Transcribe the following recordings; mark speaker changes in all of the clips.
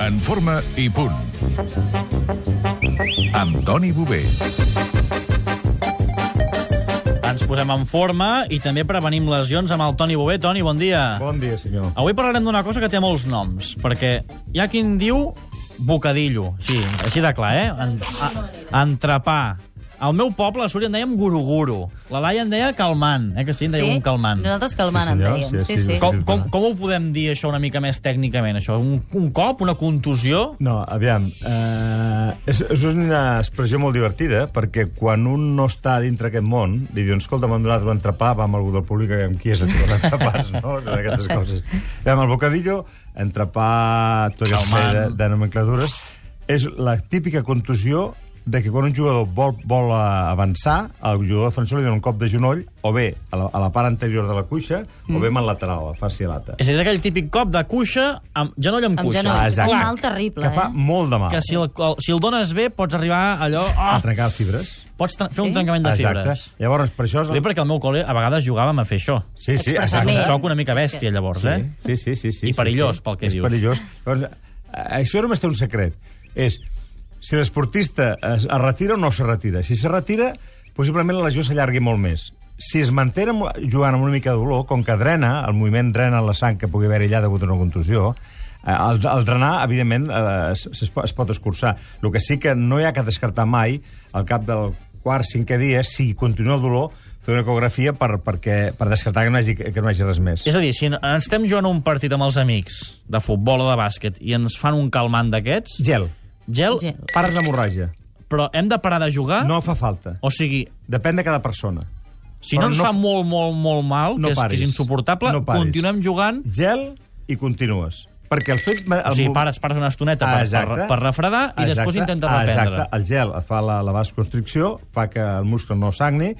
Speaker 1: En forma i punt. Amb Toni Bové.
Speaker 2: Ens posem en forma i també prevenim lesions amb el Toni Bové. Toni, bon dia.
Speaker 3: Bon dia, senyor.
Speaker 2: Avui parlarem d'una cosa que té molts noms, perquè hi ha qui en diu bocadillo, sí, així de clar, eh? En, a, entrepà. Al meu poble, a Súria, en dèiem guruguru. La Laia en deia calmant, eh? Que sí, en deia un calmant.
Speaker 4: Nosaltres calmant
Speaker 3: Sí,
Speaker 4: en
Speaker 3: senyor,
Speaker 4: dèiem.
Speaker 3: sí,
Speaker 4: Sí,
Speaker 3: sí,
Speaker 4: sí.
Speaker 3: sí.
Speaker 2: Com, com, com ho podem dir, això, una mica més tècnicament, això? Un, un cop? Una contusió?
Speaker 3: No, aviam, eh, és, és una expressió molt divertida, eh, perquè quan un no està dintre aquest món, li diuen, escolta, m'han donat un entrepà, va amb algú del públic, amb qui és el teu entrepàs, no? Són Aquestes coses. Aviam, el bocadillo, entrepà, tot això
Speaker 2: Calmant.
Speaker 3: de, de nomenclatures, és la típica contusió de que quan un jugador vol, vol eh, avançar, el jugador defensor li dona un cop de genoll, o bé a la, a la part anterior de la cuixa, mm. o bé amb el lateral, la fàcia lata.
Speaker 2: És, a dir, és aquell típic cop de cuixa, amb genoll amb,
Speaker 4: Amb
Speaker 2: cuixa.
Speaker 4: genoll.
Speaker 3: Ah, exacte.
Speaker 4: Un mal terrible,
Speaker 3: Que fa
Speaker 4: eh?
Speaker 3: molt de mal.
Speaker 2: Que si el, el, si el dones bé, pots arribar allò...
Speaker 3: A
Speaker 2: Oh,
Speaker 3: trencar fibres.
Speaker 2: pots tra- fer un
Speaker 4: Sí?
Speaker 2: trencament de fibres.
Speaker 3: Llavors, per això... És...
Speaker 2: Ho dic perquè al meu col·le a vegades jugàvem a fer això.
Speaker 3: Sí, sí,
Speaker 2: És
Speaker 3: això
Speaker 4: Expressar
Speaker 3: és
Speaker 2: un
Speaker 4: Bé.
Speaker 2: xoc una mica bèstia, llavors, eh?
Speaker 3: Sí, sí, sí,
Speaker 2: I
Speaker 3: sí. sí,
Speaker 2: perillós,
Speaker 3: sí.
Speaker 2: pel que
Speaker 3: és
Speaker 2: dius.
Speaker 3: perillós. Llavors, a- això només té un secret. És, si l'esportista es, es retira o no se retira. Si se retira, possiblement la lesió s'allargui molt més. Si es manté amb- jugant amb una mica de dolor, com que drena, el moviment drena la sang que pugui haver-hi allà degut a una contusió, eh, el, el drenar, evidentment, eh, es, es, po- es pot escurçar. El que sí que no hi ha que descartar mai, al cap del quart, cinquè dia, si continua el dolor, fer una ecografia per, perquè, per descartar que no, hi hagi, que no hi hagi res més.
Speaker 2: És a dir, si en- ens estem jugant a un partit amb els amics de futbol o de bàsquet i ens fan un calmant d'aquests...
Speaker 3: Gel.
Speaker 2: Gel,
Speaker 4: Gel.
Speaker 3: Pares d'hemorràgia.
Speaker 2: però hem de parar de jugar?
Speaker 3: No fa falta.
Speaker 2: Ah. O sigui,
Speaker 3: Depèn de cada persona.
Speaker 2: si no
Speaker 3: Però
Speaker 2: ens
Speaker 3: no-
Speaker 2: fa molt, molt, molt mal,
Speaker 3: No
Speaker 2: que, és, que
Speaker 3: paris.
Speaker 2: és insuportable,
Speaker 3: No paris.
Speaker 2: continuem jugant...
Speaker 3: Gel i continues. Perquè el fet... El...
Speaker 2: O sigui, pares, pares una estoneta per, per,
Speaker 3: Exacte.
Speaker 2: per refredar i després intentes reprendre.
Speaker 3: Exacte. El gel fa la, la vasoconstricció, fa que el muscle no sagni,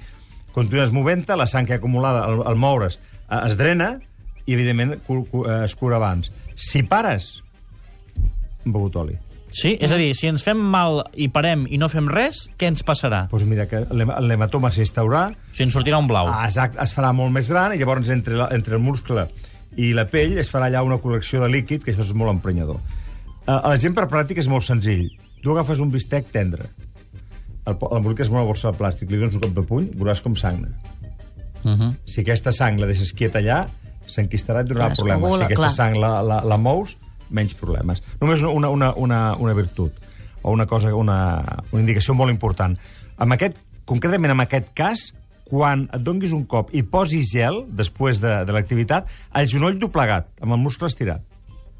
Speaker 3: continues movent-te, la sang que ha acumulada al, al moure's eh, es drena i, evidentment, cu- cu- eh, es cura abans. Si pares, hem begut oli.
Speaker 2: Sí? És a dir, si ens fem mal i parem i no fem res, què ens passarà?
Speaker 3: Doncs mira, que l'hema- l'hematoma s'instaurarà,
Speaker 2: Si ens sortirà un blau.
Speaker 3: Ah, Exacte, es farà molt més gran i llavors entre, la, entre el muscle i la pell es farà allà una col·lecció de líquid, que això és molt emprenyador. Eh, L'exemple pràctic és molt senzill. Tu agafes un bistec tendre, el po- l'emboliques amb una borsa de plàstic, li dones un cop de puny, veuràs com sagna.
Speaker 2: Uh -huh.
Speaker 3: Si aquesta sang la deixes quieta allà, s'enquistarà i et donarà
Speaker 4: Clar, es
Speaker 3: problemes.
Speaker 4: coagula,
Speaker 3: si aquesta
Speaker 4: clar.
Speaker 3: sang la, la, la mous, menys problemes. Només una, una, una, una virtut o una cosa, una, una indicació molt important. Amb aquest, concretament en aquest cas, quan et donguis un cop i posis gel després de, de l'activitat, el genoll doblegat, amb el muscle estirat.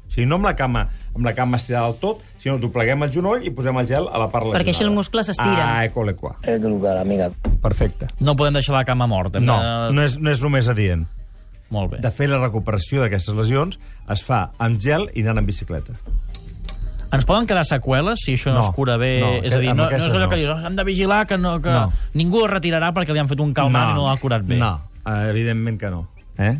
Speaker 3: O sigui, no amb la cama, amb la cama estirada del tot, sinó dobleguem el genoll i posem el gel a la part lesionada.
Speaker 4: Perquè així el muscle s'estira.
Speaker 3: Ah, ecole qua.
Speaker 5: Es tu É lugar, amiga.
Speaker 3: Perfecte.
Speaker 2: No podem deixar la cama morta. Hem
Speaker 3: No,
Speaker 2: de-
Speaker 3: no és, no és només adient.
Speaker 2: Molt bé.
Speaker 3: De fer la recuperació d'aquestes lesions es fa amb gel i anant en bicicleta.
Speaker 2: Ens poden quedar seqüeles si això no,
Speaker 3: No,
Speaker 2: es cura bé?
Speaker 3: no,
Speaker 2: és a dir,
Speaker 3: amb
Speaker 2: no, no és
Speaker 3: aquestes
Speaker 2: allò
Speaker 3: no.
Speaker 2: que dius, "Oh, hem de vigilar que, no, que
Speaker 3: No.
Speaker 2: ningú es retirarà perquè li han fet un calmant i no l'ha curat bé.
Speaker 3: No, eh, evidentment que no. Eh?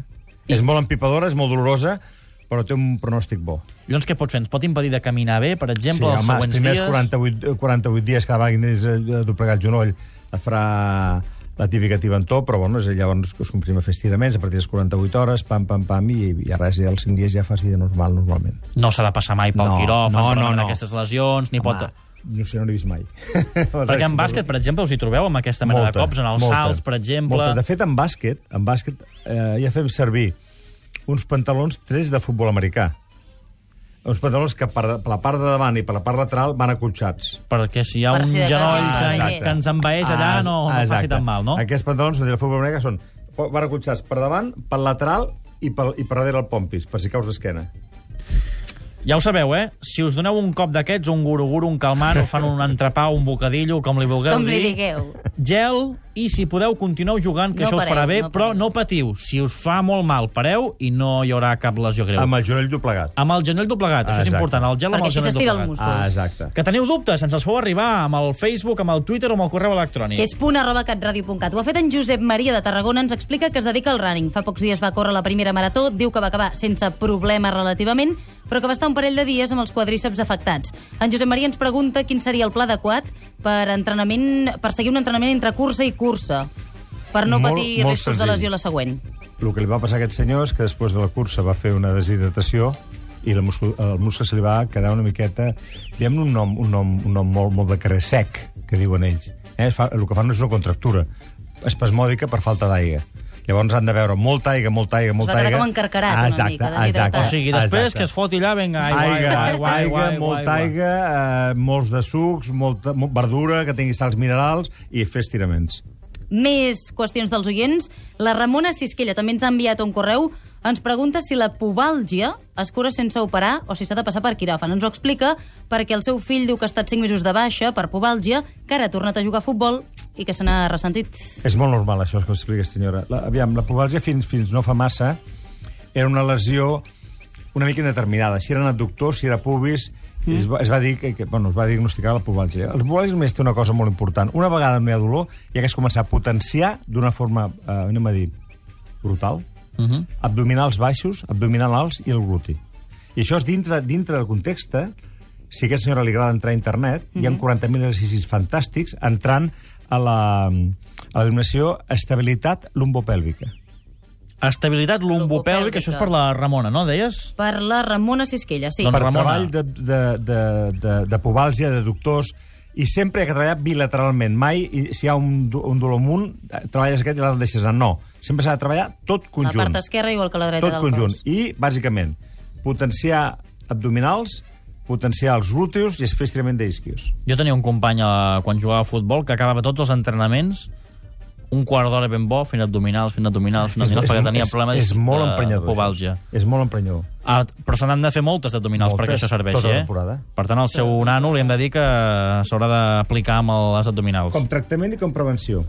Speaker 3: I... És molt empipadora, és molt dolorosa, però té un pronòstic bo.
Speaker 2: Llavors què pot fer? Ens pot impedir de caminar bé, per exemple, els
Speaker 3: home, els
Speaker 2: següents
Speaker 3: primers
Speaker 2: dies?
Speaker 3: 48, eh, 48 dies cada vegada que tens eh, doblegat el genoll et farà la típica tibantó, però bueno, és llavors que us comprim a fer estiraments a partir de les 48 hores, pam, pam, pam, i, i a res, ja als 5 dies ja fas vida normal, normalment.
Speaker 2: No s'ha de passar mai pel
Speaker 3: No,
Speaker 2: quiròfan,
Speaker 3: no,
Speaker 2: per
Speaker 3: no,
Speaker 2: no.
Speaker 3: no.
Speaker 2: aquestes lesions, ni pot...
Speaker 3: no sé, no l'he vist mai.
Speaker 2: Perquè en bàsquet, per exemple, us hi trobeu amb aquesta mena de cops, en els salts, per exemple...
Speaker 3: Molta. De fet, en bàsquet, en bàsquet eh, ja fem servir uns pantalons tres de futbol americà. Uns pantalons que per, per la part de davant i per la part lateral van acolxats.
Speaker 2: perquè si hi ha
Speaker 4: Per
Speaker 2: un
Speaker 4: si de cas
Speaker 2: genoll
Speaker 4: es
Speaker 2: que,
Speaker 4: envaeix.
Speaker 2: que ens envaeix allà no, no
Speaker 3: Ah,
Speaker 2: faci
Speaker 3: exacte.
Speaker 2: tan mal, no?
Speaker 3: Aquests pantalons de futbol americà són po- van acolxats per davant, per lateral i per, i per darrere el pompis, per si caus d'esquena.
Speaker 2: Ja ho sabeu, eh? Si us doneu un cop d'aquests, un guruguru, un calmant, us fan un entrepà, un bocadillo, com li vulgueu
Speaker 4: Com li
Speaker 2: dir...
Speaker 4: digueu.
Speaker 2: Gel, i si podeu, continueu jugant, que
Speaker 4: No
Speaker 2: això us farà
Speaker 4: pareu,
Speaker 2: bé,
Speaker 4: no
Speaker 2: però
Speaker 4: pareu.
Speaker 2: no patiu. Si us fa molt mal, pareu i no hi haurà cap lesió greu.
Speaker 3: Amb el genoll doblegat.
Speaker 2: Amb el genoll doblegat,
Speaker 3: Ah,
Speaker 2: això és
Speaker 3: exacte.
Speaker 2: important. El gel amb el
Speaker 4: Perquè així
Speaker 2: genoll
Speaker 4: s'estira el
Speaker 2: doblegat.
Speaker 4: muscle.
Speaker 3: Ah, exacte.
Speaker 2: Que teniu dubtes, ens els feu arribar amb el Facebook, amb el Twitter o amb el correu electrònic.
Speaker 4: que és punt arroba catradio.cat. Ho ha fet en Josep Maria de Tarragona, ens explica que es dedica al running. Fa pocs dies va córrer la primera marató, diu que va acabar sense problema relativament, però que va estar un parell de dies amb els quadríceps afectats. En Josep Maria ens pregunta quin seria el pla adequat per, entrenament, per seguir un entrenament entre cursa i cursa, per no
Speaker 3: Molt-
Speaker 4: patir
Speaker 3: molt
Speaker 4: riscos de
Speaker 3: senzill.
Speaker 4: lesió la següent.
Speaker 3: El que li va passar a aquest senyor és que després de la cursa va fer una deshidratació i la muscul, el muscle se li va quedar una miqueta... Diguem-ne un nom, un nom, un nom molt, molt de carrer sec, que diuen ells. Eh? Es Fa, el que fan és una contractura espasmòdica per falta d'aigua. Llavors han de beure molta aigua, molta aigua, molta
Speaker 4: va quedar
Speaker 3: aigua.
Speaker 4: com encarcarat una
Speaker 3: exacte,
Speaker 4: mica, deshidratat.
Speaker 3: exacte,
Speaker 2: O sigui, després
Speaker 3: exacte.
Speaker 2: que es foti allà, vinga, aigua, aigua,
Speaker 3: Aigua,
Speaker 2: aigua, aigua,
Speaker 3: aigua,
Speaker 2: aigua, aigua,
Speaker 3: molta aigua, eh, molts de sucs, molta, mo- verdura, que tingui salts minerals i fer estiraments.
Speaker 4: Més qüestions dels oients. La Ramona Sisquella també ens ha enviat un correu. Ens pregunta si la pobàlgia es cura sense operar o si s'ha de passar per quiròfan. Ens ho explica perquè el seu fill diu que ha estat 5 mesos de baixa per pobàlgia, que ara ha tornat a jugar a futbol i que se n'ha ressentit.
Speaker 3: És molt normal, això, que ho expliques, senyora. La, aviam, la pobàlgia fins, fins no fa massa era una lesió una mica indeterminada. Si eren adductors, si era pubis... Mm. Es, va, es, va dir que, que, bueno, es va diagnosticar la pobàlgia. El pobàlgia només té una cosa molt important. Una vegada no hi ha dolor, ja que es comença a potenciar d'una forma, eh, anem a dir, brutal,
Speaker 2: Uh -huh.
Speaker 3: abdominals baixos, abdominal alts i el gluti. I això és dintre, dintre del context, eh? si a aquesta senyora li agrada entrar a internet, mm -hmm. hi ha 40.000 exercicis fantàstics entrant a la, a la denominació estabilitat lumbopèlvica.
Speaker 2: Estabilitat lumbopèlvica,
Speaker 4: Lumbopèlvica.
Speaker 2: això és per la Ramona, no, deies?
Speaker 4: Per la Ramona Sisquella, sí.
Speaker 2: Doncs
Speaker 3: per
Speaker 2: Ramona.
Speaker 3: treball de, de, de, de, de pobàlsia, de doctors, i sempre hi ha que treballar bilateralment. Mai, i si hi ha un, do- un dolor amunt, eh, treballes aquest i l'altre el deixes anar. No, sempre s'ha de treballar tot
Speaker 4: la
Speaker 3: conjunt.
Speaker 4: part esquerra igual que la dreta
Speaker 3: tot
Speaker 4: del
Speaker 3: conjunt.
Speaker 4: cos.
Speaker 3: I, bàsicament, potenciar abdominals, potenciar els glúteos i es fer estirament d'isquios.
Speaker 2: Jo tenia un company eh, quan jugava a futbol que acabava tots els entrenaments un quart d'hora ben bo, fent abdominals, fent abdominals, fent abdominals, perquè tenia problemes
Speaker 3: és, és molt
Speaker 2: de,
Speaker 3: emprenyador.
Speaker 2: de pobàlgia.
Speaker 3: això. És molt emprenyador.
Speaker 2: Ah, però se n'han de fer moltes d'abdominals
Speaker 3: Moltes,
Speaker 2: perquè això serveixi,
Speaker 3: tota la
Speaker 2: eh?
Speaker 3: temporada.
Speaker 2: Per tant, al seu nano li hem de dir que s'haurà d'aplicar amb les abdominals.
Speaker 3: Com tractament i com prevenció.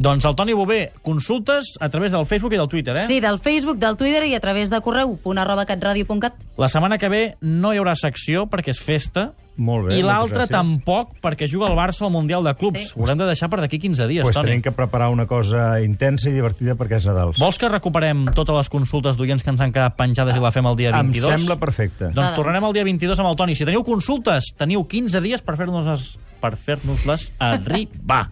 Speaker 2: Doncs el Toni Bové, consultes a través del Facebook i del Twitter, eh?
Speaker 4: Sí, del Facebook, del Twitter i a través de correu, punt arroba catradio.cat.
Speaker 2: La setmana que ve no hi haurà secció perquè és festa.
Speaker 3: Molt bé,
Speaker 2: I
Speaker 3: moltes
Speaker 2: l'altra
Speaker 3: gràcies.
Speaker 2: tampoc perquè juga el Barça al Mundial de Clubs.
Speaker 4: Sí.
Speaker 2: Ho haurem de deixar per d'aquí 15 dies,
Speaker 3: Pues
Speaker 2: Toni.
Speaker 3: tenim que preparar una cosa intensa i divertida perquè és Nadal.
Speaker 2: Vols que recuperem totes les consultes d'oients que ens han quedat penjades i la fem el dia
Speaker 3: Em
Speaker 2: 22?
Speaker 3: sembla perfecte.
Speaker 2: Doncs
Speaker 4: Ah,
Speaker 2: tornarem el dia 22 amb el Toni. Si teniu consultes, teniu 15 dies per fer-nos-les per fer-nos-les arribar.